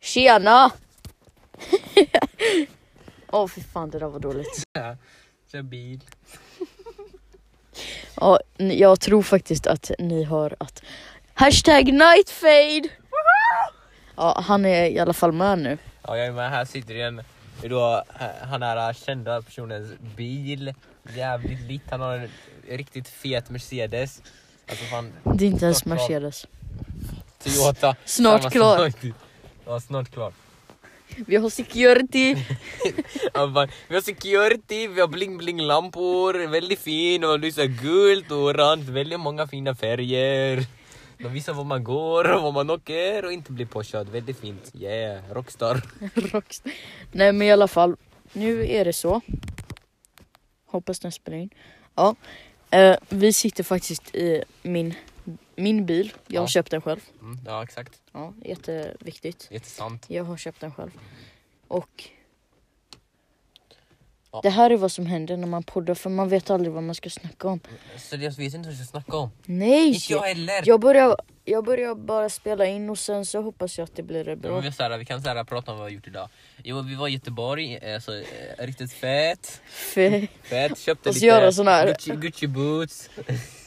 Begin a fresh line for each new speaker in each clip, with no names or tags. Tjena! Åh fy fan det där var dåligt.
Kör bil.
Ja, n- jag tror faktiskt att ni hör att Hashtag nightfade! Ja, han är i alla fall med nu.
Ja, jag är med. Här sitter en, då, eh, han är kända personens bil. Jävligt lit. Han har en riktigt fet Mercedes. Alltså fan,
Det är inte ens
Snart klar.
Mercedes.
Toyota.
Snart
Samma
klar.
sak. Ja, snart klar.
Vi har security.
Han bara, vi har security, vi har bling bling lampor, väldigt fin och lyser gult och orange, väldigt många fina färger. De visar var man går och var man åker och inte blir påkörd, väldigt fint. Yeah, rockstar.
Rockstar. Nej men i alla fall, nu är det så. Hoppas den spelar in. Ja, eh, vi sitter faktiskt i min, min bil. Jag har
Ja.
köpt den själv.
Mm, ja exakt,
Ja, jätteviktigt.
jättesant.
Jag har köpt den själv. Och
Ja.
det här är vad som händer när man poddar för man vet aldrig vad man ska snacka om.
Seriöst, vi vet inte vad vi ska snacka om.
Nej!
Inte jag heller.
Jag börjar, jag börjar bara spela in och sen så hoppas jag att det blir
Ja, men
bra.
vi, är så här, vi kan så här, prata om vad vi har gjort idag. Jo, vi var i Göteborg, alltså, eh, riktigt fett.
För
Fett, köpte
Och så
lite
göra sån här.
Gucci, Gucci boots.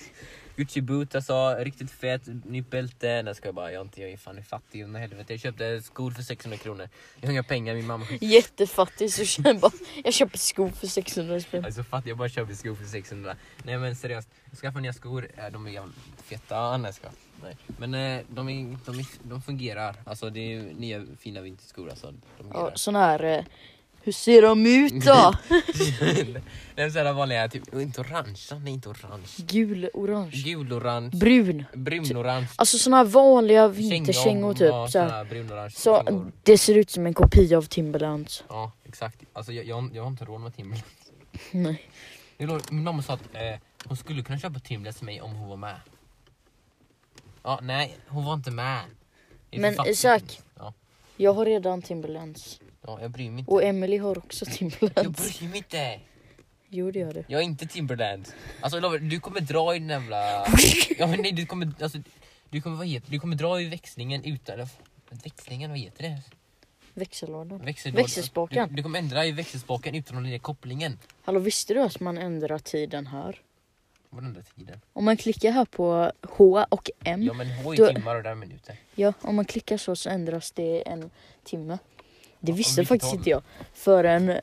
Gucci boots alltså, riktigt fett, nytt bälte. Nej ska jag bara, jag är inte, jag är fan fattig under helvete. Jag köpte skor för 600 kronor. Jag har inga pengar, min mamma
jättefattig så känner jag bara, jag köper skor för 600 spänn.
Alltså fattig, jag bara köper skor för 600. Nej men seriöst, skaffa nya skor, Eh, de är jävligt feta. Ah, Nej, jag ska. Nej. Men eh, de, är, de, är, de fungerar. Alltså det är ju nya fina vinterskor alltså. De fungerar.
Ja, sån här, eh, hur ser de ut då?
Nej men såhär Typ. vanliga, typ, och inte orange, nej inte orange.
Gul, orange,
Gul-orange,
brun.
brun-orange.
Alltså såna här vanliga vinterkängor
Ja,
typ. Så,
såna
här.
här brun-orange
så mm.
kängor.
det ser ut som en kopia av Timberlands.
Ja, exakt. Alltså jag, jag, jag har inte råd med Timberland.
Nej.
Jag lov- Min mamma sa att eh, hon skulle kunna köpa Timberland till mig om hon var med. Ja, nej, hon var inte med. Det är
Men
för fattigt.
Isak.
Ja,
Jag har redan Timberlands.
ja, jag bryr mig inte.
Och Emily har också
Jag
Timberlands.
bryr mig inte.
Jo det gör du.
Jag är inte Timberland. Alltså jag lovar, du kommer dra i den jävla... Ja, men nej, du kommer, alltså, du kommer, vad heter, du kommer dra i växlingen utan... Växlingen, vad heter det?
Växellådan.
Växellådan.
Växelspaken.
Du, du kommer ändra i växelspaken utan den där kopplingen.
Hallå visste du att man ändrar tiden här?
På den där tiden.
Om man klickar här på H och M.
Ja men H i
Du-
timmar och där minuter.
Ja, om man klickar så så ändras det en timme. Det visste
vilket
faktiskt
håll?
inte jag förrän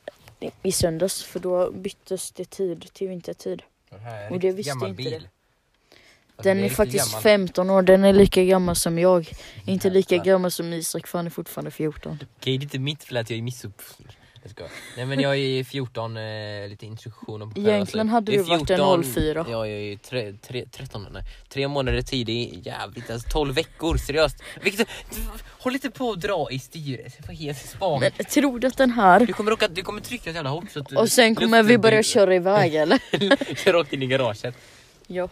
i söndags för då byttes det tid till vintertid.
Den här är en
Och det
riktigt
visste
gammal
inte
bil.
det.
Alltså,
Den
det
är
riktigt
faktiskt
gammal.
15 år, den är lika gammal som jag. Inte lika
Jävlar.
gammal som Isak för han är fortfarande 14.
Okej det är inte mitt fel att jag är missuppfattad. Jag skojar. Nej men jag är 14, eh, lite instruktioner på
Egentligen hade
Det
du
är
varit en
14,
04.
Ja jag är tre, tre, 13, nej. Tre månader tidig, jävligt alltså 12 veckor seriöst. Vilket, håll inte på att dra i styret, vad heter
Men
spaken?
tror du att den här
Du kommer, råka, du kommer trycka så jävla hårt så att du-
och sen kommer vi
luften
börja
blir-
köra iväg eller?
Rakt in i garaget.
Ja.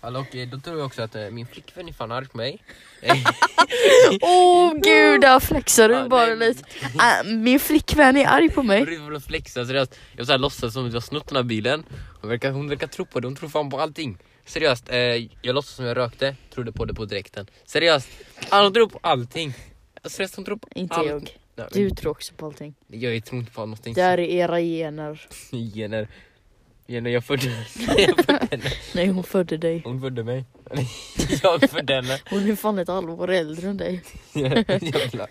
Alltså, och eh, då tror jag också att eh, min flickvän är fan arg på mig.
Åh gud, där flexar
Ja,
du bara
nej.
lite. Ah, min flickvän är arg på mig.
Du får flexa seriöst. Jag så här låtsas som att jag har snott den här bilen. Hon verkar, hon verkar tro på det, hon tror fan på allting. Seriöst, eh, jag låtsas som jag rökte, trodde på det på direkten. Seriöst, ah, hon tror på allting. Seriöst, hon tror på
Inte
allt.
jag.
Nej,
Du tror också på allting.
Jag tror inte på någonting.
Det här är era gener.
Gener. Gener, jag födde, jag födde henne.
Nej hon födde dig.
Hon födde mig. Jag födde henne.
Hon är fan ett halvår äldre än dig.
Jävlar.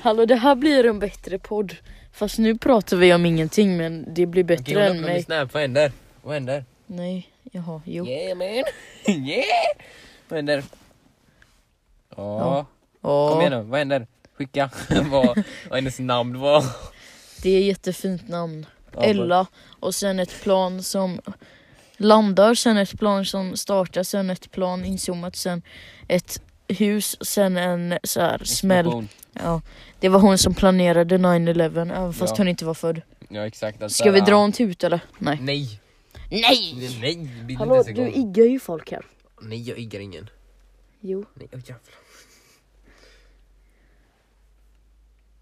Hallå det här blir en bättre podd. Fast nu pratar vi om ingenting men det blir bättre
Okej, hon
än
öppnar min
mig.
snap, vad händer? Vad händer?
Nej, jaha, jo.
Yeah man! Yeah! Vad händer?
Ja.
Ja. Kom igen
Ja,
nu, vad händer? Skicka vad, vad hennes namn var.
det är jättefint namn.
Ja,
Ella och sen ett plan som landar, sen ett plan som startar, sen ett plan inzoomat, sen ett hus, sen en så här smäll.
Explosion.
Ja, det var hon som planerade 9-11 även fast
Ja.
hon inte var född.
Ja exakt. Alltså,
Ska vi
ah,
dra en tut eller? Nej.
Nej!
Nej!
Nej! Bilden
Hallå,
inte ens
du
igång.
iggar ju folk här.
Nej jag iggar ingen.
Jo.
Nej åh jävlar.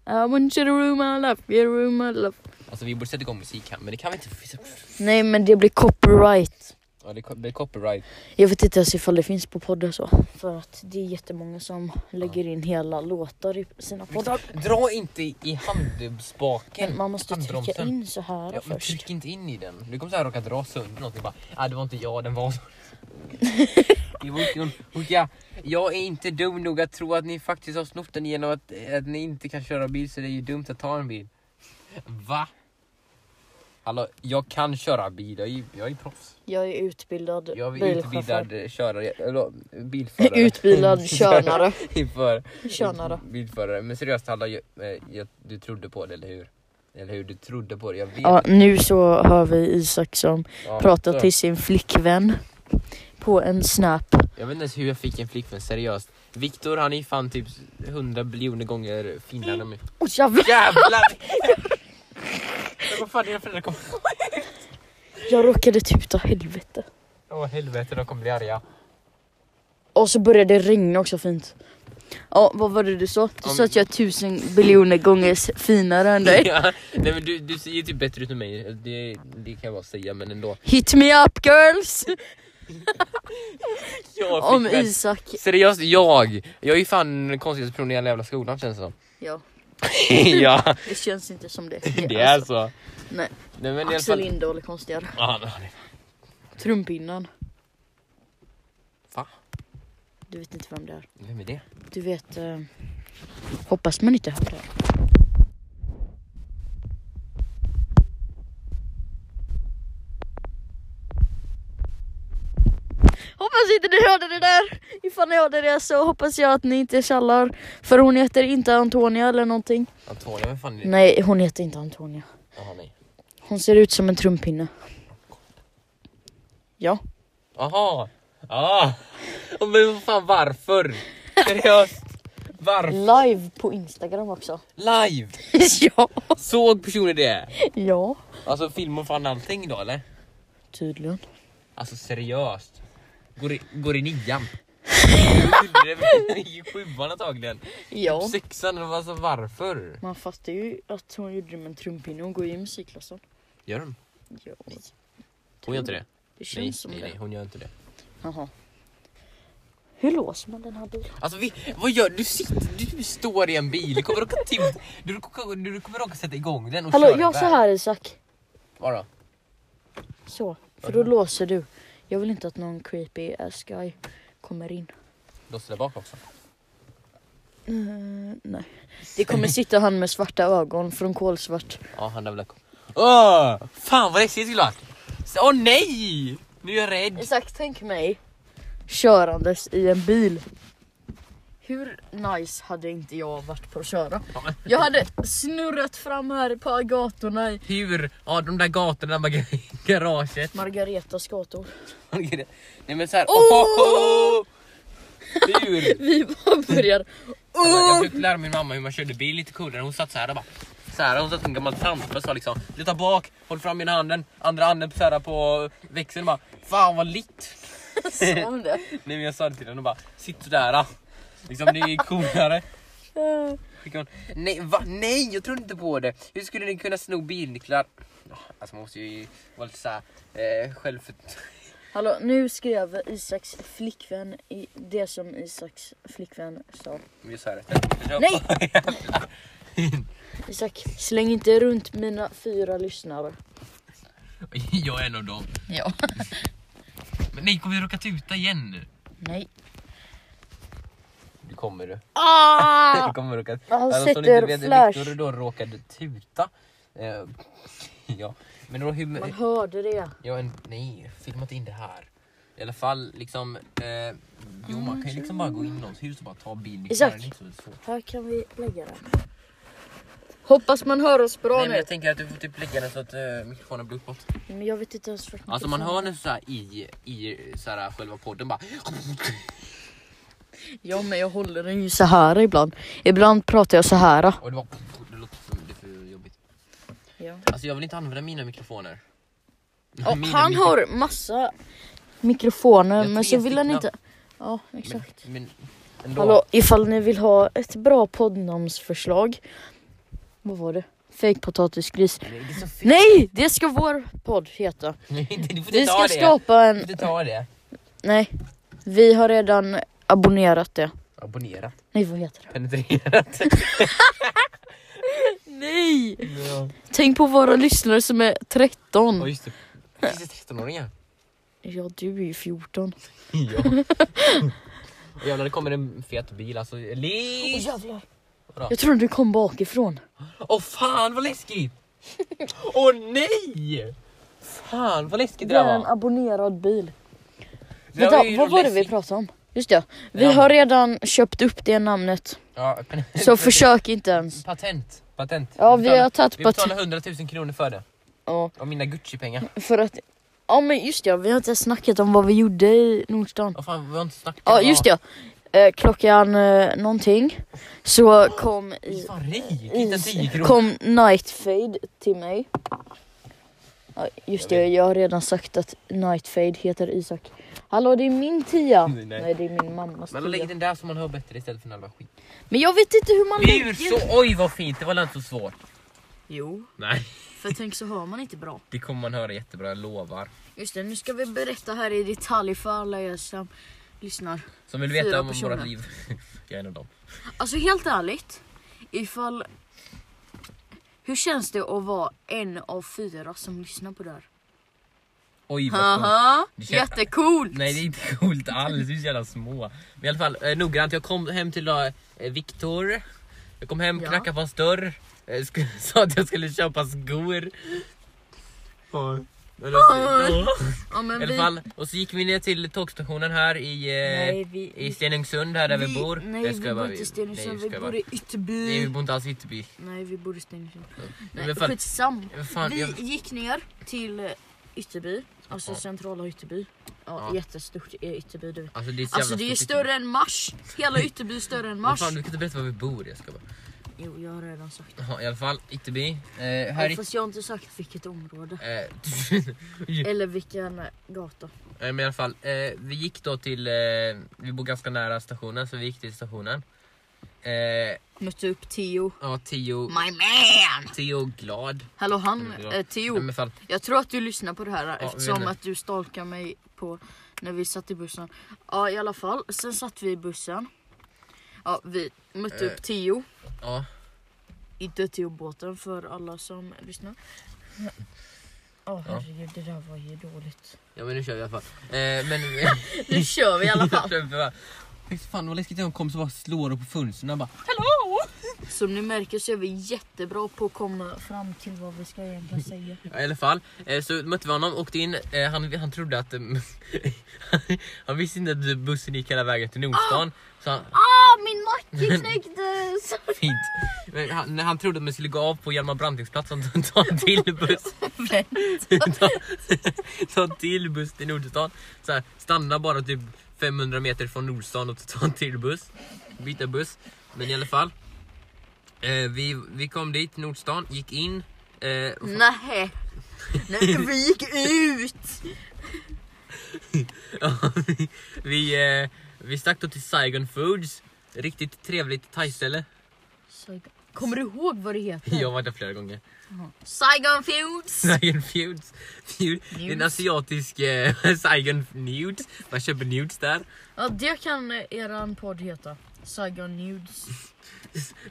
I want you to ruin my life, you ruin my life.
Alltså vi borde sätta igång musik här men det kan vi inte.
Nej men det blir copyright.
Ja Ja, det, ko- det är copyright.
Jag vet inte ens ifall det finns på poddar så. För att det är jättemånga som lägger in hela låtar i sina poddar.
Dra inte i handdubbsbaken.
Men man måste trycka
handbromsen.
in så här
Ja, men
först.
tryck inte in i den. Du kommer så här råka dra sönder något och bara, nej det var inte jag, den var så." Det var inte hon. Hon, ja, jag är inte dum nog att tro att ni faktiskt har snott den genom att, att ni inte kan köra bil så det är ju dumt att ta en bil. Va? Hallå, jag kan köra bil, jag är, ju- jag är proffs.
Jag är utbildad
Jag är
bilchaufför.
utbildad körare, eller bilförare.
Utbildad körnare.
Inför,
Körnare.
Bilförare. Men seriöst Halla, jag, eh, jag, du trodde på det eller hur? Eller hur? Du trodde på det, jag vet.
Ja, nu så hör vi Isak som
Ja,
pratar
så.
till sin flickvän på en snap.
Jag vet inte ens hur jag fick en flickvän, seriöst. Viktor han är fan typ 100 biljoner gånger finare än mig.
Åh jävlar!
Jävlar! Vad fan dina föräldrar kommer...
Jag råkade typ ta helvete.
Åh helvete, de kommer bli arga.
Och så började det regna också fint. Ja, vad var det du sa? Du sa
Om-
att jag är tusen biljoner gånger s- finare än dig.
Ja, nej men du, du ser ju typ bättre ut än mig, det, det kan jag bara säga men ändå.
Hit me up girls!
Jag
Om
flickvän.
Isak.
Seriöst, jag! Jag är ju fan den konstigaste personen i hela jävla skolan känns det som.
Ja,
ja,
det känns inte som det.
det är så.
Alltså, Nej.
Nej men i alla
Axel
fall...
Lindahl är konstigare.
Ah, nej.
Trumpinnan.
Va?
Du vet inte vem det är.
Vem är det?
Du vet... Eh, hoppas man inte hör det. Hoppas inte ni hörde det där! Ifall ni hörde det så hoppas jag att ni inte tjallar. För hon heter inte Antonia eller någonting.
Antonia, vem fan är det?
Nej, hon heter inte Antonia.
Jaha nej.
Hon ser ut som en trumpinne. Ja.
Aha. Ja. Ah. Men vad fan varför? Seriöst. Varför?
Live på Instagram också.
Live!
ja.
Såg personer det?
Ja.
Alltså filmar fan allting då eller?
Tydligen.
Alltså seriöst. Går i, går i nian. Gjorde det I sjuan antagligen.
Ja.
Sexan, alltså varför?
Man fattar ju att hon gjorde det med en trumpinne. Hon går ju i musikklassen.
Gör hon?
Ja.
Hon gör inte det?
Det känns
Nej,
som
nej, nej,
det.
hon gör inte det.
Jaha. Hur låser man den här bilen?
Alltså vi, vad gör du? Du Sitter, du står i en bil, du kommer råka, tim, du, kommer- du kommer råka sätta igång den och
Hallå,
köra
jag så
iväg.
här Isak.
Vadå?
Så. För då låser du. Jag vill inte att någon creepy ass guy kommer in.
Låser där bak också?
Eh, nej. Det kommer sitta han med svarta ögon från kolsvart.
Ja, han har väl Åh! Fan vad läskigt det skulle ha varit! Så- Åh nej! Nu är jag rädd!
Isak, tänk mig körandes i en bil. Hur nice hade inte jag varit på att köra? Jag hade snurrat fram här på gatorna i
Hur? Ja, de där gatorna, de där gar- garaget.
Margaretas gator.
nej men såhär...
Åh!
Oh! Hur?
Vi bara börjar...
Jag
Oh!
försökte lära min mamma hur man körde bil lite coolare. Hon satt såhär och bara... Såhär, hon satt som en gammal tant och sa liksom Luta bak, håll fram ena handen, andra handen såhär på växeln bara Fan vad litt!
Som det.
Nej men jag sa det till henne och bara Sitt sådär! Liksom det är coolare.
Eh,
Skickade hon, nej, va? nej jag trodde inte på det. Hur skulle ni kunna sno bilnycklar? Ja, Alltså man måste ju vara lite såhär eh, självfört...
Hallå, nu skrev Isaks flickvän i det som Isaks flickvän sa.
Vi gör så här efter.
Nej! Isak, släng inte runt mina fyra lyssnare.
Jag är en av dem.
Ja.
Men nej, kommer vi råka tuta igen nu?
Nej.
Det kommer du.
Ah!
Du kommer råka...
Han
Alltså, om ni inte
sätter
vet,
flash.
Victor då råkade tuta. Eh, ja, men då hur...
Man hörde det.
Ja, en, nej, filma inte in det här. I alla fall liksom... Eh, jo, man kan ju liksom bara gå in i någons hus och bara ta bilnycklar.
Isak.
Det är inte så svårt.
Här kan vi lägga den. Hoppas man hör oss bra
Nej, men
nu.
jag tänker att du får typ lägga den så att eh, mikrofonen blir uppåt.
Men jag vet inte ens vart
Alltså man hör den såhär i, i såhär, själva podden bara.
Ja men jag håller den ju så här ibland. Ibland pratar jag så här.
Och det bara. Det låter som det är för jobbigt.
Ja.
Alltså jag vill inte använda mina mikrofoner.
Och
Mina
han
mikro-
har massa mikrofoner
Jag
men
tror
så
jag
vill
fick
han
namn.
inte. Ja exakt.
Men, men ändå.
Hallå ifall ni vill ha ett bra poddnamnsförslag. Vad var det? Fake potatisgris.
Nej, det är så fel.
Nej! Det ska vår podd heta.
Nej, inte- du får
Vi
inte
ska
ta det.
skapa
Du
en...
får inte ta det.
Nej. Vi har redan abonnerat det.
Abonnerat.
Nej vad heter det?
Penetrerat.
Nej!
ja.
Tänk på våra lyssnare som är 13.
Ja, just det. Finns det 13-åringar?
Ja du är ju 14.
ja. Och Jävlar det kommer en fet bil alltså. Liv!
jävlar.
Bra.
Jag trodde du kom bakifrån.
Åh fan vad läskigt! Åh nej! Fan vad läskigt det
Det
där
är en
var.
abonnerad bil.
Det där
Vänta,
ju
vad var det vi
läskigt.
pratade om? Just det, vi
Ja.
har redan köpt upp det namnet.
Ja, pen-
Så försök inte ens.
Patent. Patent.
Ja,
Vi
vi
betalar-
har tagit
Vi
patent.
betalar 100 000 kronor för det.
Ja,
Av mina Gucci-pengar.
för att... Ja men just det, vi har inte ens snackat om vad vi gjorde i Nordstan.
Vad fan, vi har inte snackat
Ja
om-
just det, eh, klockan eh, någonting så kom,
Vi är
i,
fan rik, hitta
is,
10 kronor.
Mm. kom Nightfade till mig. Ja, just det, jag har redan sagt att Nightfade heter Isak. Hallå det är min tia!
Nej.
Nej, det är min mammas
Men lägg
tia.
den där som man hör bättre istället för den halva skit.
Men jag vet inte hur man
Ur
lägger.
så, oj vad fint, det var inte så svårt.
Jo,
Nej,
för tänk så hör man inte bra.
det kommer man höra jättebra, jag lovar.
Just det, nu ska vi berätta här i detalj för alla er som lyssnar.
Som vill
Fyra
veta om
personer.
våra liv. jag är en av dem.
Alltså helt ärligt, ifall... Hur känns det att vara en av fyra som lyssnar på det här?
Oj vad coolt.
Haha,
Det känns-
jättecoolt!
Nej det är inte coolt alls, vi är så jävla små. Men i alla fall eh, noggrant, jag kom hem till eh, Viktor. Jag kom hem,
Ja.
knackade på hans dörr. Eh, sk- sa att jag skulle köpa skor. Ja. Men alltså,
Ja, men
I alla fall, och så gick vi ner till tågstationen här i, eh,
Nej, vi-
i Stenungsund här där vi, bor.
Nej,
Jag
vi
skojar bara,
bor inte i
nej,
Stenungsund,
jag
vi
skojar
bor
bara.
i
Nej, vi
Ytterby.
bor inte alls i Ytterby.
Nej, vi bor i Stenungsund.
i
Nej,
alla fall-
skitsamma.
Fan,
Vi
jag,
gick ner till eh, Ytterby, alltså
Ja.
centrala Ytterby. Ja,
Ja.
jättestort är Ytterby du vet.
alltså det är, så
Alltså
jävla
det är
stort
större än Mars. Hela Ytterby är större än
Men
Mars.
Fan, du kan inte berätta var vi bor, jag ska bara.
Jo, jag har redan sagt det.
Ja, I alla fall, Ytterby. Eh, här
Ja,
i...
fast jag har inte sagt vilket område.
Eh,
Eller vilken eh, gata.
nej, men i alla fall, eh, vi gick då till, eh, vi bor ganska nära stationen så vi gick till stationen. Eh,
Mötte upp Theo.
ja, Tio,
My man!
Tio glad.
Hallå han,
Ja.
eh, Theo.
Nej, men fan,
Jag tror att du lyssnar på det här
vi
eftersom
vet.
att du stalkar mig på när vi satt i bussen. Ja i alla fall, sen satt vi i bussen. Ja, vi mötte
Eh.
upp Theo.
ja,
Inte Theo-båten för alla som lyssnar. Åh
Ja.
herregud, det där var ju dåligt.
ja, men nu kör vi i alla fall. Eh, men...
Nu kör vi i alla fall.
Fy Fan vad läskigt de kom så bara slår på fönstren bara
Som ni märker så är vi jättebra på att komma fram till vad vi ska egentligen säga.
Ja, I alla fall, eh, så mötte vi honom, åkte in, eh, han, han trodde att... eh, han visste inte att bussen gick hela vägen till Nordstan. Så han,
Ah, min macka knäcktes!
fint. Men han, när han trodde att man skulle gå av på Hjalmar Brantingsplatsen och ta en till buss. ta, ta en till buss till Nordstan. Så här, stanna bara typ 500 meter från Nordstan och ta en till buss. Byta buss. Men i alla fall. Eh, vi, vi kom dit, Nordstan, gick in. Eh,
Nej. Nej, vi gick ut!
Ja, vi, vi, eh, vi stack då till Saigon Foods. Riktigt trevligt thaiställe.
Saigon. Kommer du ihåg vad det heter?
Jag var där flera gånger.
Saigon Foods!
Saigon Foods. Food. Det är en
Nudes.
asiatisk eh, Saigon Nudes. Man köper nudes där.
Ja, det kan eh, eran podd heta. Saigon Nudes.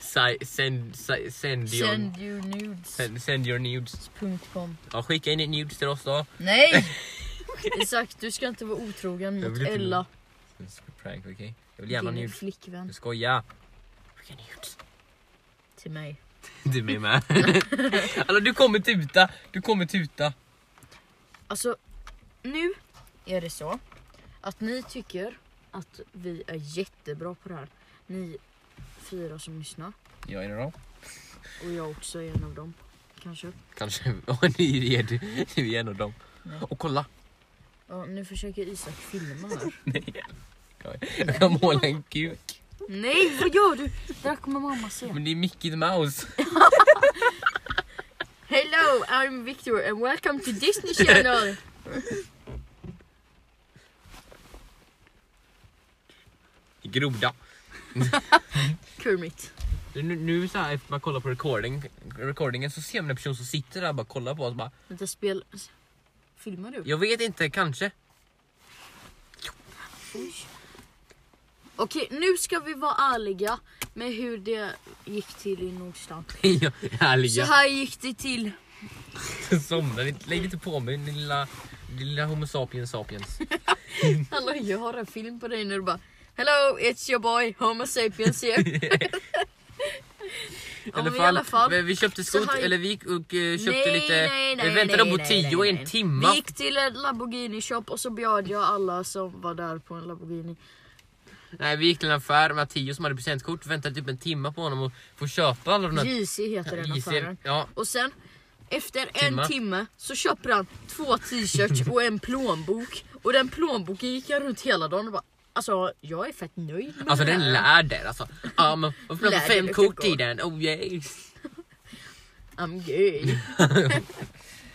Sai, send, sai, send, your, send.
Send you nudes.
send your nudes.
Punkt com.
Ja, skicka in ett nudes till oss då.
Nej! Isak, du ska inte vara otrogen
Jag
mot
vill inte
Ella,
Det ska vara Prank, okay? Jag vill gärna ha
din
nudes.
flickvän,
Jag skojar. Skicka nudes.
till mig.
Du är med med. alltså du kommer tuta. Du kommer tuta.
Alltså, nu är det så att ni tycker att vi är jättebra på det här. Ni fyra som lyssnar,
Jag är det då.
och jag också är en av dem. Kanske.
Kanske. Ja, ni är det. Vi är en av dem.
Nej.
Och kolla.
Ja, nu försöker Isak filma här.
Nej. Jag kan måla en kuk.
Nej, vad gör du? Där kommer mamma se.
Men det är Mickey the Mouse.
Hello, I'm Victor and welcome to Disney Channel.
Groda.
Kermit.
Du, nu, nu så här, efter man kollar på recording, recordingen så ser man en person som sitter där och bara kollar på oss. Bara,
Vänta, spel... Filmar du?
jag vet inte, kanske.
Oj. Okej, nu ska vi vara ärliga med hur det gick till i Nordstan.
Ja,
Så
Ärliga.
här gick det till.
Somna lite, lägg inte på mig din lilla, din lilla homo sapiens sapiens.
Hallå, jag har en film på dig när du bara Hello, it's your boy, Homo sapiens here. ja, men i alla fall.
men vi köpte
så
skot,
har jag-
eller vi gick och eh, köpte
Nej,
lite,
nej, nej,
vi väntade
nej,
på
nej,
tio
nej,
i en
nej.
timma.
Vi gick till en Lamborghini shop och så bjöd jag alla som var där på en Lamborghini.
Nej vi gick till en affär med tio som hade presentkort, väntade typ en timma på honom och få köpa alla de här
JC heter den
JC.
affären.
Ja,
Och sen efter
Timma.
en timme så köper han två t-shirts och en plånbok. Och den plånboken gick jag runt hela dagen och bara Alltså jag är fett nöjd med
alltså
det
den
här."
läder alltså. Ja men och framför
Läder
fem
luktar
kort i
gott.
den, oh yeah.
I'm gay.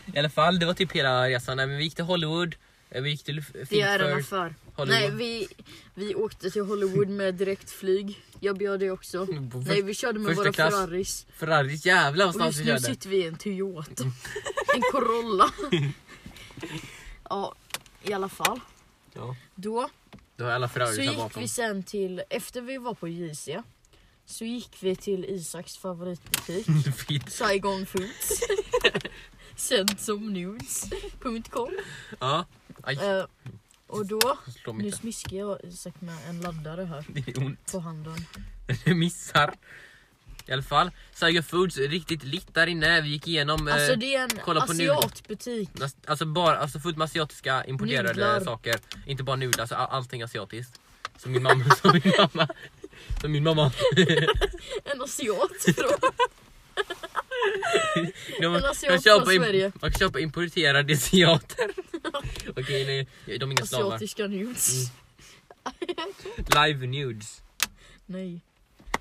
I alla fall det var typ hela resan, Nej, men vi gick till Hollywood, eh, vi gick till
Det är en
Filmför,
affär.
Hollywood.
Nej vi, vi åkte till Hollywood med direktflyg. Jag bjöd dig också.
På
Nej vi körde med
Mm. första
våra
klass.
Ferraris.
Ferrari, jävlar vad
Och
snabbt
just
vi
nu
körde.
sitter vi i en Toyota.
Mm.
En Corolla. ja i alla fall.
Ja,
Då
då har alla
Så
Ferrarisar
gick
bakom.
vi sen till, efter vi var på JC, så gick vi till Isaks favoritbutik,
Fint.
Saigon Foods. Känd som nudes.com.
Ja, aj,
Eh, och då,
slå mig
nu
inte.
smiskar jag Isak med en laddare här
Det är ont.
på handen.
Du missar. I alla fall, Saigon Foods är riktigt litt där inne. Vi gick igenom...
Alltså
eh,
det är en
kolla på nudlar.
asiatbutik.
nas- alltså, bara, alltså fullt med asiatiska importerade
Nudlar.
saker. Inte bara nudlar, alltså all- allting asiatiskt. Som min mamma... som min mamma... Som min mamma...
En asiat från,
De,
En asiat från Sverige.
man kan köpa importerade asiater. Okej, nej, de är Mm. inga slavar.
asiatiska nudes.
Live nudes.
Nej.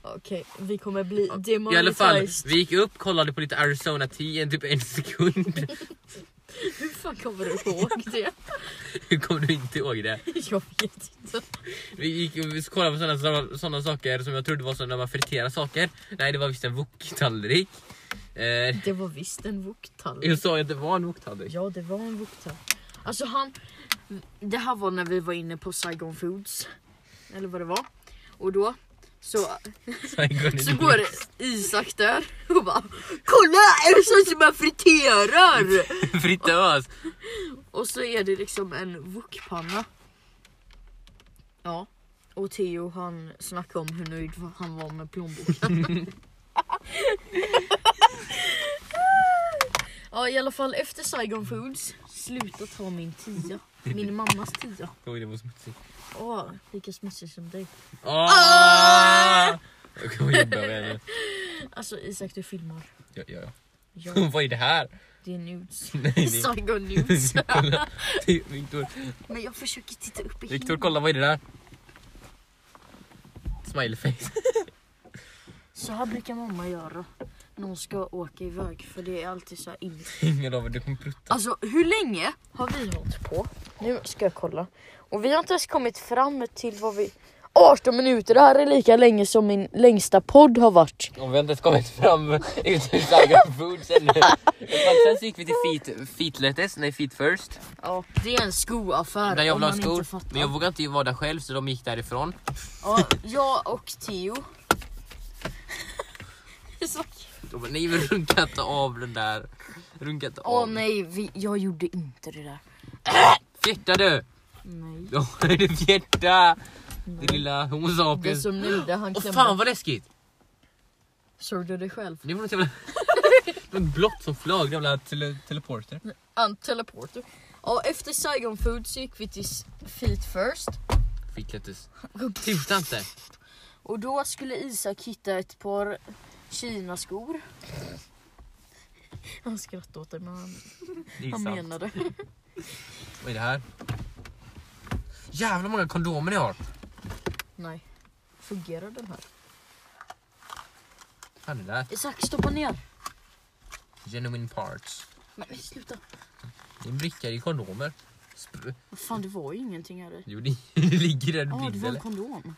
Okej, vi kommer bli
I alla fall,
demonetized.
vi gick upp, kollade på lite Arizona Tea i typ en sekund.
Hur fan kommer du ihåg det?
Hur kom du inte ihåg det?
Jag vet inte.
Vi gick vi kollade på sådana såna saker som jag trodde var så när man friterar saker. Nej det var visst en wok-tallrik. Eh,
Det var visst en voktall.
jag sa ju att det var en wok-tallrik.
Ja, det var en vuktare. Alltså han... Det här var när vi var inne på Saigon Foods. Eller vad det var. Och då så, så går det Isak där och bara Kolla! Är det sånt som man friterar?
Fritös!
Och så är det liksom en wokpanna. Ja. Och Theo han snackade om hur nöjd han var med plånboken. ja i alla fall efter Saigon Foods, sluta ta min tia. Min mammas tia.
Oj det var smutsigt.
Åh, lika smutsig som dig. Ah!
Åh! Ah! Jag kommer jobba med henne.
Alltså Isak du filmar.
Ja, ja, ja.
Ja,
Vad är det här?
det är nudes.
Nej, det är-
Saigon nudes.
det är Typ, Viktor.
Men jag försöker titta upp i
Viktor
himlen.
kolla vad är det där? Smileface.
Så här brukar mamma göra när hon ska åka iväg för det är alltid så här in.
Ingen av er, du kommer prutta.
Alltså hur länge har vi hållit på? Nu ska jag kolla. Och vi har inte ens kommit fram till vad vi... 18 minuter, det här är lika länge som min längsta podd har varit.
Om vi inte ens kommit fram ut ur Saigon Foods ännu. Men Sen så gick vi till feet, feet lettuce, nej feet first.
Ja, det är en skoaffär
Där jag
om
ville ha
man
skor.
inte fattar.
Men jag vågade inte vara där själv så de gick därifrån.
Ja, jag och Theo. Så-
De bara, nej men runka inte av den där. Runka inte
Åh
av.
nej, vi, jag gjorde inte det där.
Fjärta du!
Nej.
Ja är det fjärta! Din lilla homo
Det
sapiens.
som nöjde han
Åh
klämde.
fan vad läskigt!
Såg du det själv?
Det var något jävla... Det var ett blått som flög, den jävla tele teleporter.
En teleporter. Ja, efter Saigon Food så gick vi till S- Feet First.
Feet lettuce. Tuta inte!
Och då skulle Isak hitta ett par Kina-skor. Han skrattade åt det men han,
Det är
han
sant.
menade.
Vad är det här? Jävlar många kondomer ni har!
Nej. Fungerar den här?
Vad fan är det där?
Isak stoppa ner!
Genuine parts.
Men sluta!
Det är en bricka i kondomer. Sp-
Vad fan det var ju ingenting här i.
jo det det ligger där du
Ja ah, det
finns
var en
eller?
kondom.
En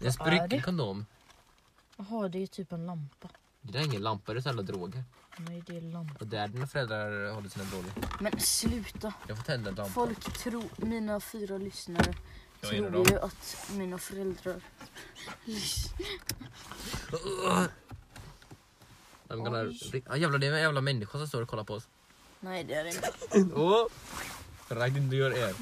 Vad är det?
sprucken kondom.
Jaha, det är typ en lampa.
Det där är ingen lampa, det är sådana droger.
Nej, det är lampa.
Och det är dina föräldrar håller sina droger.
Men sluta.
Jag får tända en lampa.
Folk tror, mina fyra lyssnare
Jag är en av
tror
dem.
ju att mina föräldrar lyssnar.
I'm gonna...
Oj.
Ja, jävlar, det är en jävla människa som står och kollar på oss.
Nej, det är det inte.
Åh! Rakt inte gör er.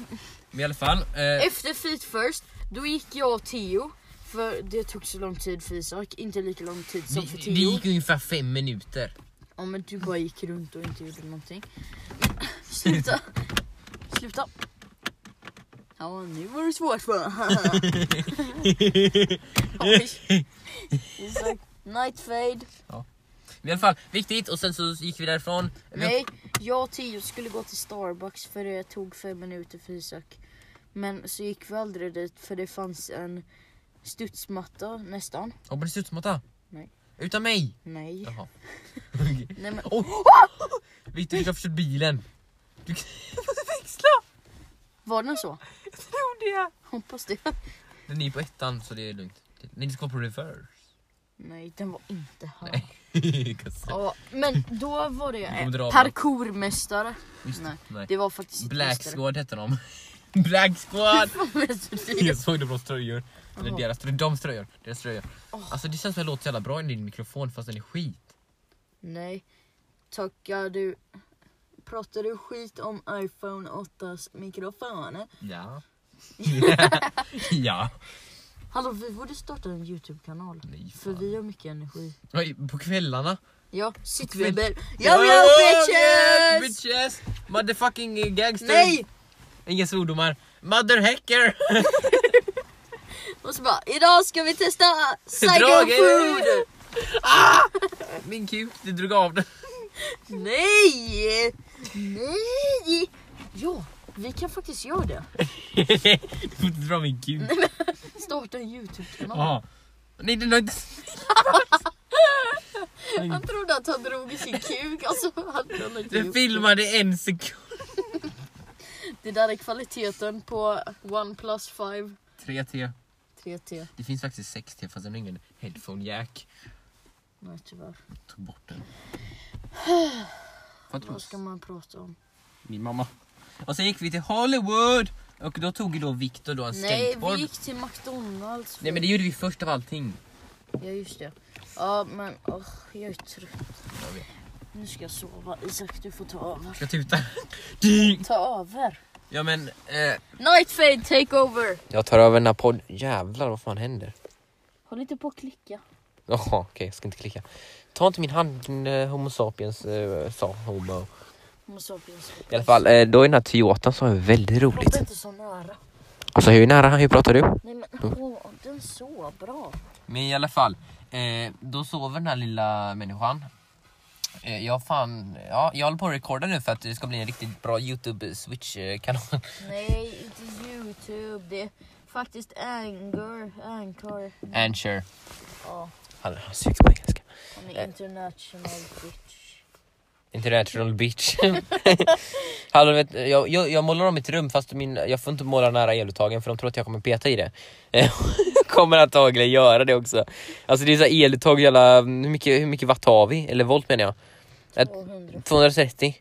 Men i alla fall. Eh,
Efter Feet First, då gick jag och Theo. För det tog så lång tid för Isak, inte lika lång tid som
det,
för
det
Theo.
gick ungefär fem minuter.
Ja men du bara gick runt och inte gjorde någonting. Sluta! Sluta! Ja nu var det svårt va? Oj. Isak, Night fade.
Men i alla fall, viktigt. Och sen så gick vi därifrån. Vi-
Nej, jag och Theo skulle gå till Starbucks för det tog fem minuter för Isak. Men så gick vi aldrig dit för det fanns en studsmatta nästan.
Hoppades du utmatta?
Nej.
Utan mig?
Nej.
Jaha.
Nej men
Oj! Victor, du kan köra bilen. Du kan... Jag måste växla!
var den så?
Jag tror det!
Hoppas det.
Den är på ettan så det är lugnt. Ni ska vara på reverse.
Nej den var inte här.
Nej. Kasse.
Ja, men då var det
kommer dra
eh, parkourmästare.
Just det.
Nej,
Nej.
det var faktiskt inte
Black
mästare.
Squad hette de. Black Squad!
Men-
Jag såg deras tröjor. Eller
Jaha.
deras tröjor. Deras tröjor. Deras tröjor. Alltså det känns som jag låter så jävla bra i din mikrofon fast den är skit.
Nej. Tackar du... Pratar du skit om iPhone 8s mikrofoner?
Ja. ja.
Hallå, vi borde starta en YouTube-kanal.
Nej,
För
fan.
vi har mycket energi.
Oj, på kvällarna.
Ja, sitt
Kväll-
vid bil. Yo yo
yeah,
bitches!
bitches! Motherfucking gangster.
Nej!
Inga svordomar. Motherhacker!
Och så bara, idag ska vi testa psycho
Droger! Ah!
food!
Min kuk, du drog av den.
Nej! Nej! Ja, vi kan faktiskt göra det.
du får inte dra min kuk.
Starta en YouTube-kanal.
Jaha. Nej, den har inte...
Han trodde att han drog i sin kuk. Alltså, han han har inte
Den
gjort
filmade en sekund.
det. det där är kvaliteten på OnePlus 5
3T.
3T.
Det finns faktiskt 6T fast den har ingen headphone jack.
Nej tyvärr.
Tog bort den. Vad tror
Vad ska man prata om?
Min mamma. Och sen gick vi till Hollywood. Och då tog ju då Victor då en
Nej,
skateboard.
vi gick till McDonalds.
Nej men det gjorde vi först av allting.
Ja just det. Ja men åh, jag är trött.
Jag vet.
Nu ska jag sova. Isak du får ta över.
Ska jag tuta?
Ta över.
ja men... Eh...
Night fade take over.
Jag tar över den här podden. Jävlar vad fan händer?
Håll inte på att klicka.
Jaha okej jag ska inte klicka. Ta inte min hand din eh, homo sapiens eh, sa homo.
Homo sapiens.
I alla fall eh, då är den här Toyotan som är väldigt roligt.
Prata inte så nära.
Alltså hur nära, hur pratar du?
Nej men åh, den så bra.
Men i alla fall, eh, då sover den här lilla människan. Eh, jag fan, ja, jag håller på att recorda nu för att det ska bli en riktigt bra youtube switch eh, kanal.
Nej, inte Youtube. Det är faktiskt Anchor. Anchor.
Anchor.
Ja,
Han han söker på engelska.
han är international bitch.
International bitch. Hallå, vet, jag, jag, jag målar om mitt rum fast min, jag får inte måla nära eluttagen för de tror att jag kommer peta i det. Eh, jag kommer antagligen göra det också. Alltså det är så här eluttag, jävla, hur, mycket, hur mycket watt har vi? Eller volt menar jag. Ett-
200.
230?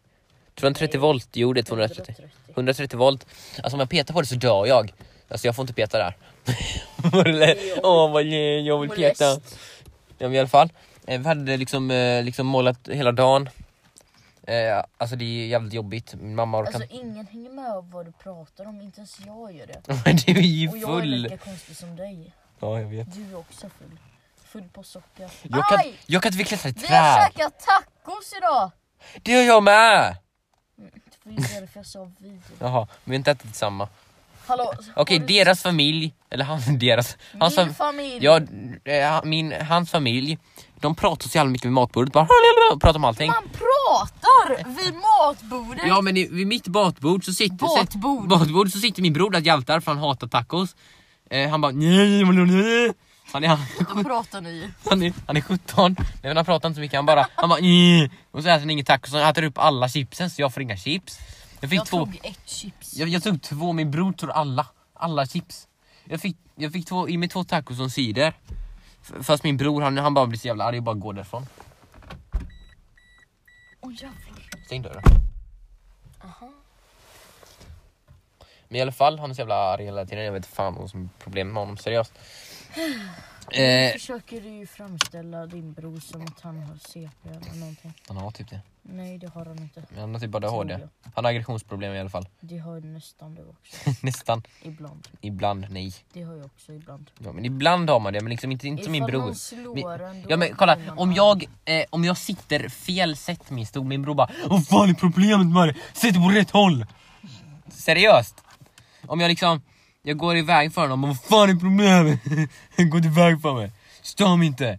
230
Nej.
volt? Jo det är 230. 130 volt. Alltså om jag petar på det så dör jag. Alltså jag får inte peta där. Molle- Åh vad jag jag vill peta.
Molest.
Ja, men i alla fall. Eh, Vi hade liksom, eh, liksom målat hela dagen. Eh, Alltså det är jävligt jobbigt. Min mamma orkar
Alltså
inte.
ingen hänger med om vad du pratar om, inte ens jag gör det.
Du är ju
Och jag är
full.
lika konstig som dig.
Ja jag vet.
Du är också full. Full på socker.
Jag kan,
Aj!
jag kan inte klättra i
Vi har
träd.
käkat tacos idag!
Det gör jag med!
Det var ju därför jag sa vi.
Jaha, men vi har inte ätit samma.
Hallå?
Okej, alltså-
har du-
deras familj. Eller han, deras. Hans
Min
fam-
familj!
Ja, eh, han- min, hans familj, de pratar så jävla mycket vid matbordet. Bara, "Lalalala", pratar om allting.
Man pratar vid matbordet!
Ja men i, vid mitt matbord så sitter,
Matbord.
Så, matbord så sitter min bror där hjältar för han hatar tacos. Eh, han bara nej, nej, nej. Han är,
Då pratar ni
han, är, han är 17, nej, men han pratar inte så mycket. Han bara, han bara nej. Och så äter han inget tacos, han äter upp alla chipsen så jag får inga chips. Jag fick
Jag
två,
tog ett chips.
jag, jag tog två, min bror tog alla, alla chips. Jag fick, jag fick två, i mig två tacos och en cider. F- Fast min bror han, han bara blir så jävla arg och bara går därifrån.
Åh jävlar.
Stäng dörren.
Aha.
Men i alla fall, han är så jävla arg hela tiden. Jag vet inte fan vad som är problemet med honom, seriöst. Eh,
Försöker du ju framställa din bror som att han har CP eller någonting.
han har typ det.
Nej det har han inte.
Men han har typ bara
Tror
ADHD.
jag.
Han har aggressionsproblem i alla fall.
Det har nästan du också.
Nästan.
Ibland.
Ibland, nej.
Det har jag också ibland.
Ja, men ibland har man det, men liksom inte, inte som min
Ifall
bror.
någon slår en, då
Ja men kolla,
får man
om
arg.
jag, eh, om jag sitter fel sätt min stol, min bror bara Vad fan är problemet med det? Sätt dig på rätt håll! Seriöst! Om jag liksom, jag går iväg för honom, vad fan är problemet? Gå iväg för mig, stör mig inte!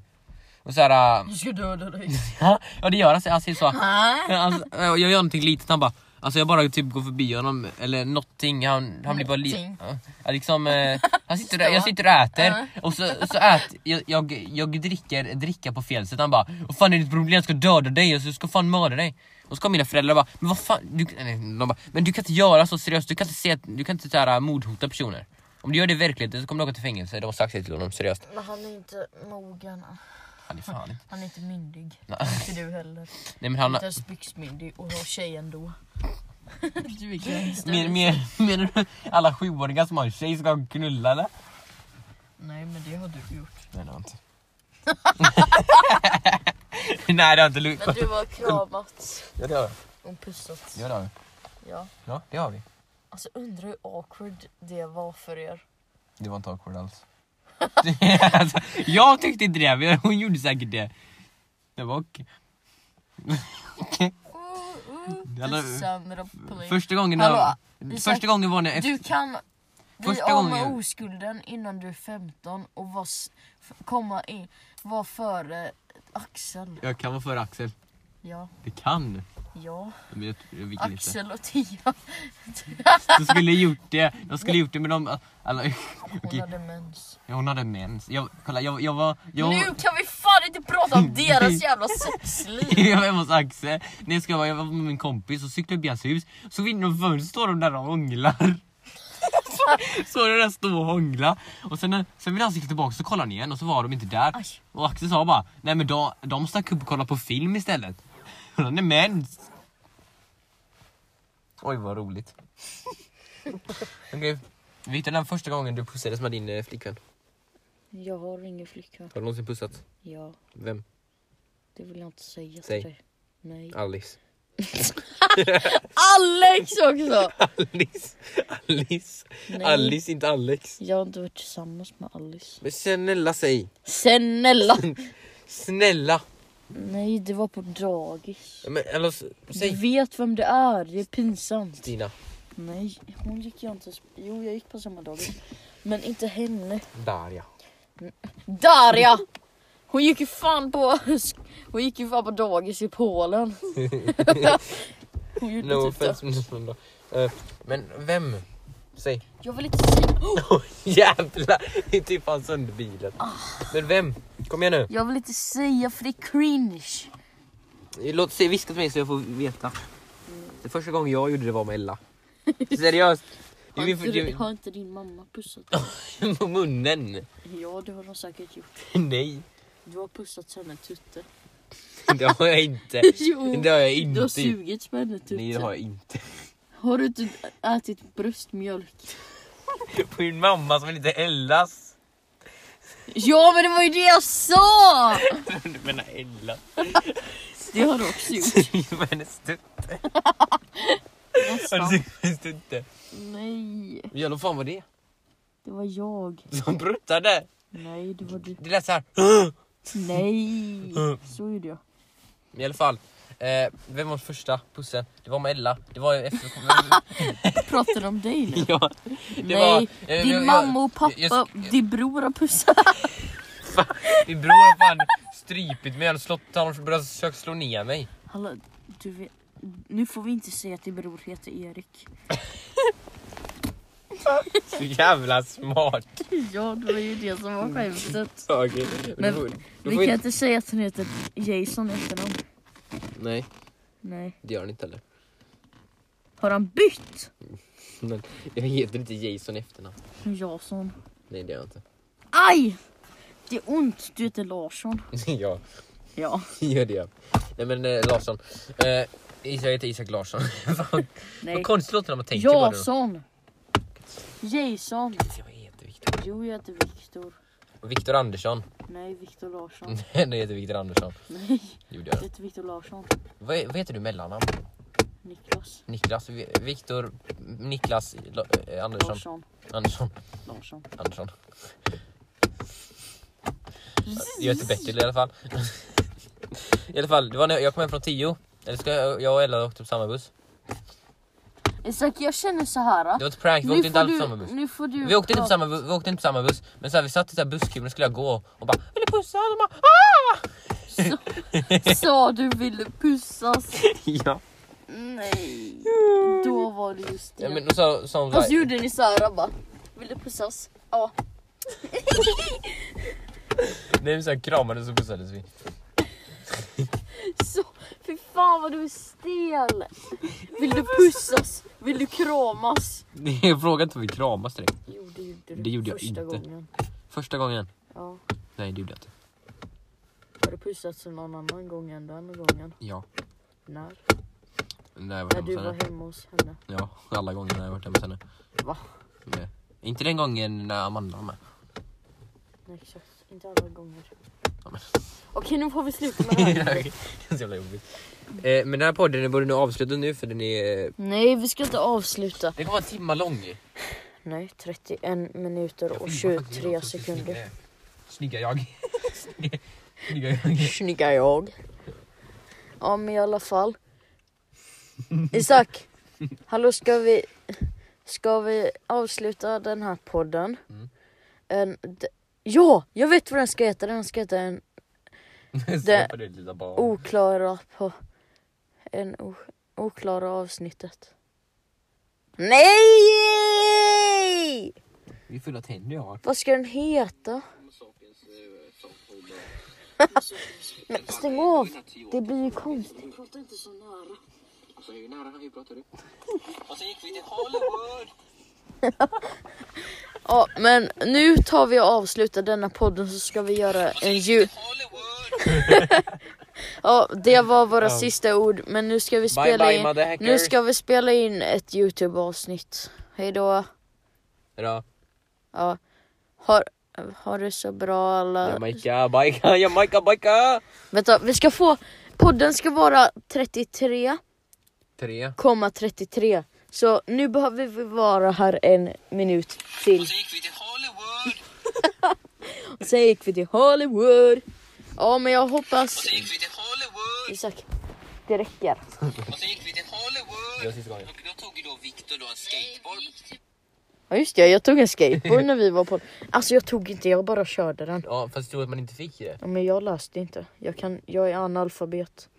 Och såhär,
Jag ska döda dig.
ja det gör han, han säger så
Ah.
alltså, eh, Jag gör någonting litet, han bara Alltså jag bara typ går förbi honom eller någonting, han, han blir bara li-
Någonting.
ja, liksom, eh, han sitter där, Jag sitter och äter och så, så ät, jag, jag, jag dricker dricka på fel sätt, han bara Vad fan är ditt problem? Jag ska döda dig, jag ska fan mörda dig och så kom mina föräldrar och bara, men vad fan, du, nej, de bara, men du kan inte göra så seriöst, du kan inte, se, att- du kan inte så här, äh, mordhota personer. Om du gör det i verkligheten så kommer du åka till fängelse, de har sagt det till honom seriöst.
Men han är inte mogen.
Han är fan inte-
Han är inte myndig.
Nej.
Inte du heller.
Nej men han,
Inte ens byxmyndig och har tjej ändå. du är gräns.
men, men, menar du alla sjuåringar som har en tjej ska knulla eller?
Nej men det har du gjort.
Nej det har jag inte. Nej det har jag inte Lukas.
Men du har kramat
Ja det har vi.
och pussat.
Ja det har vi.
Ja.
Ja det har vi.
Alltså undrar hur awkward det var för er.
Det var inte awkward alls. alltså, jag tyckte inte det, men hon gjorde säkert det. Det var okej. Ja, nu- Första gången,
Hallå, Isak,
första gången var när...
Du kan bli
Första
av med
gången-
oskulden innan du är 15 och var, s- f- komma in, var före Axel.
Jag kan vara före Axel.
Ja,
Det kan.
ja.
Men jag, jag vill inte.
Axel och Tia.
De skulle gjort det. De skulle gjort det men de... Alla,
Hon
Okej.
hade mens.
Ja, hon hade mens. Jag, kolla jag, jag var... Jag,
Nu kan vi fan inte prata om deras jävla sexliv.
jag var hemma hos Axel, när jag, ska vara, jag var med min kompis och cyklade upp i hans hus Så vid något fönster står de där och hånglar Så- Så de där stå och hångla Och sen, när- sen vill han cykla tillbaka så kollar han igen och så var de inte där
Aj.
Och Axel sa bara Nej men de, de stack upp och kollade på film istället Och Han är mens Oj vad roligt Okej, Victor den första gången du pussades med din eh, flickvän
Jag har ingen flickvän.
Har du någonsin pussat?
Ja,
Vem?
det vill jag inte säga
Säg.
till dig. Nej.
Alice
Alex också!
Alice, Alice,
Nej.
Alice inte Alex.
Jag har inte varit tillsammans med Alice.
Men snälla säg,
Snälla!
snälla.
Nej, det var på dagis.
Men, eller, s-
Du
säg
vet vem det är, det är pinsamt.
Stina.
Nej, hon gick jag inte... Jo, jag gick på samma dagis. Men inte henne.
Där ja.
Darja! Hon gick ju fan på... Hon gick ju fan på dagis i Polen. Hon gjorde
No
typ det.
offense. men- men- eh, Men vem? Säg.
Jag vill inte säga...
Oh, jävlar, det är typ fan sönder bilen.
Ah.
Men vem? Kom igen nu.
Jag vill inte säga för det är cringe.
Låt säg viska till mig så jag får veta. Det första gången jag gjorde det var med Ella. Seriöst. Det är min,
Har inte,
det
har inte din mamma pussat dig?
är på munnen.
Ja det har hon säkert gjort.
Nej,
Du har pussat henne tutte.
det har jag inte.
Jo!
Det har jag
Du har
inte. gjort.
sugits på henne tutte.
Nej det har jag inte.
Har du inte ätit bröstmjölk?
på min mamma som är lite Ellas.
Ja men det var ju det jag sa! Alltså,
Du menar Ella?
Det har du också gjort.
Sug på hennes tutte. Har du
Nästan.
sugit på hennes tutte?
Alltså, Nej,
Jävlar fan var det?
det var jag.
Som pruttade?
Nej det var du.
Det lät såhär.
Nej! Så gjorde jag.
I alla fall. Eh, vem var första pussen? Det var med Ella. Det var ju efter...
Pratar du om dig nu?
ja, det
Nej,
eh, jag- jag-
din mamma och
jag-
pappa,
jag-
din bror har pussat.
Fan, Min bror har fan strypit mig. Han har slått- han har försökt slå ner mig.
Hallå, du vet, nu får vi inte säga att din bror heter Erik.
Så jävla smart.
Ja, det var ju det som var skämtet.
Okej.
Men
Du får- du
Vi
Mm. får
kan
inte...
inte säga att han heter Jason i efternamn.
Nej,
Nej.
det gör han inte heller.
Har han bytt?
Men jag heter inte Jason i efternamn.
Jason.
Nej det gör jag inte.
Aj! Det är ont, du heter Larsson.
ja,
Ja.
gör det ja. Nej men eh, Larsson. Eh, Isak jag heter Isak Larsson. Fan,
Nej.
Vad konstigt låter när man tänker på det. då.
Jason. Jason.
Jag heter Viktor.
Jo, jag heter Viktor.
Viktor Andersson. Nej,
Nej, Viktor Larsson.
jag heter Viktor Andersson.
Nej,
Gjorde
jag
jag.
heter Viktor Larsson.
Vad, vad heter du mellannamn?
Niklas
Niklas, Vi- Viktor, Niklas La- eh, Andersson.
Larsson.
Andersson,
Larsson.
Andersson. Jag heter Bertil i alla fall. I alla fall, det var när jag kom hem från tio. Eller ska jag, jag och Ella åkte på samma buss.
Isak, jag känner så här.
Det var ett prank, vi åkte inte alls på samma buss.
nu får du...
Vi åkte, inte på
prata.
samma, bu- vi åkte inte på samma buss, men så här, vi satt i så här busskuben och skulle jag gå och bara vill du pussa? Och de bara ah!
Sa du ville pussas?
Ja.
Nej. Då var det just det.
ja men, och så, så, hon
Och
bara,
så gjorde ni såhär bara. Vill du pussas? Ja.
nej, men så här, kramades och pussades vi.
Så, fy fan vad du är stel. Vill du pussas? Vill du kramas?
Jag frågade inte om vi kramas direkt.
Jo det gjorde du.
Det gjorde jag
Första
inte.
gången.
Första gången.
Ja.
Nej det gjorde jag inte.
Har du pussats någon annan gång än den gången?
Ja.
När?
När jag var
När
hemma
du
hos
var
henne.
hemma hos henne.
Ja, alla gånger när jag varit hemma hos henne.
Va?
Nej. Inte den gången när Amanda var med.
Nej exakt, inte alla gånger.
Ja, men-
Okej nu får vi sluta med det här.
det är så jävla jobbigt. Eh, men den här podden den borde nu avsluta nu för den är... eh,
Nej, vi ska inte avsluta.
Den kommer vara en timma lång.
Nej, 31 minuter och
Oj,
23
vad fan, snygga
sekunder.
jag. Snygga jag. Snygga- Snygga jag.
Snygga jag. Ja, men i alla fall. Isak, hallå ska vi, ska vi avsluta den här podden?
Mm.
En, d- ja, jag vet vad den ska heta. Den ska heta en
Stoppa det lilla barn.
oklara på... En o, oklara avsnittet. Nej!
Vi är fulla tänder jag har.
Vad ska den heta? Men stäng av! Det blir ju konstigt.
Alltså hur nära hur pratar du? Och sen gick vi till Hollywood.
Ja, men nu tar vi och avslutar denna podden så ska vi göra en jul... ja, det var våra sista ord, men nu ska vi
Bye
spela
bye
in...
motherhacker.
Nu ska vi spela in ett Youtube-avsnitt. Hej då.
Bra.
Ja. Har, har det så bra alla...
Jamaica, bajka, Jamaica, bajka.
Vänta, vi ska få... Podden ska vara 33.
Tre.
33. Så nu behöver vi vara här en minut till.
Sen gick vi till Hollywood.
Sen gick vi till Hollywood. Ja men jag hoppas...
Sen gick vi till Hollywood.
Isak, det räcker.
Och sen gick vi till Hollywood. Och då tog ju då Viktor då en skateboard.
Ja just det, jag tog en skateboard när vi var på... Alltså jag tog inte, jag bara körde den.
Ja fast jag tror att man inte fick det.
Ja, men jag löste inte. Jag, kan, jag är analfabet.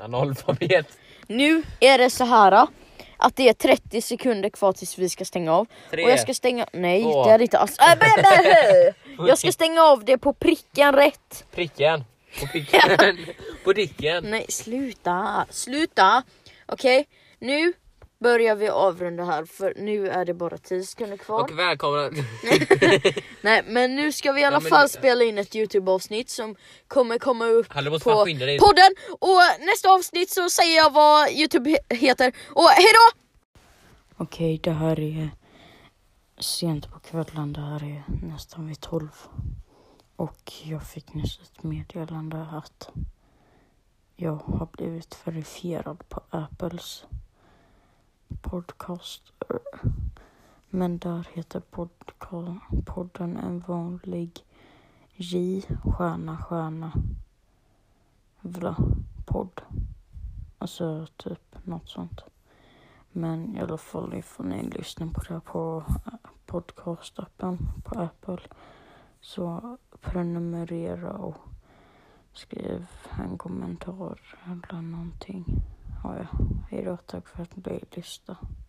Analfabet.
Nu är det så här att det är 30 sekunder kvar tills vi ska stänga av.
Tre.
Och jag ska stänga... Nej,
Två.
det är det inte alls. Äh, bä, bä, hö. Jag ska stänga av det på pricken rätt.
Pricken. På pricken. På dicken.
Nej, sluta! Sluta! Okej, nu börjar vi avrunda här för nu är det bara 10 sekunder kvar.
Och välkomna.
Nej, men nu ska vi i alla
Ja, men-
fall spela in ett Youtube-avsnitt som kommer komma upp
Hallå, måste
på
fan skynda dig.
podden. Och nästa avsnitt så säger jag vad Youtube he- heter. Och hejdå!
Okej, det här är sent på kvällen. Det här är nästan vid tolv. Och jag fick nyss ett meddelande att jag har blivit verifierad på Apples podcaster. Men där heter podca- podden en vanlig J, stjärna, stjärna, vla, podd. Alltså typ något sånt. Men i alla fall ifall ni lyssnar på det här på eh, podcastappen på Apple så prenumerera och skriv en kommentar eller någonting. Ja, ja. Hejdå, tack för att ni lyssnade.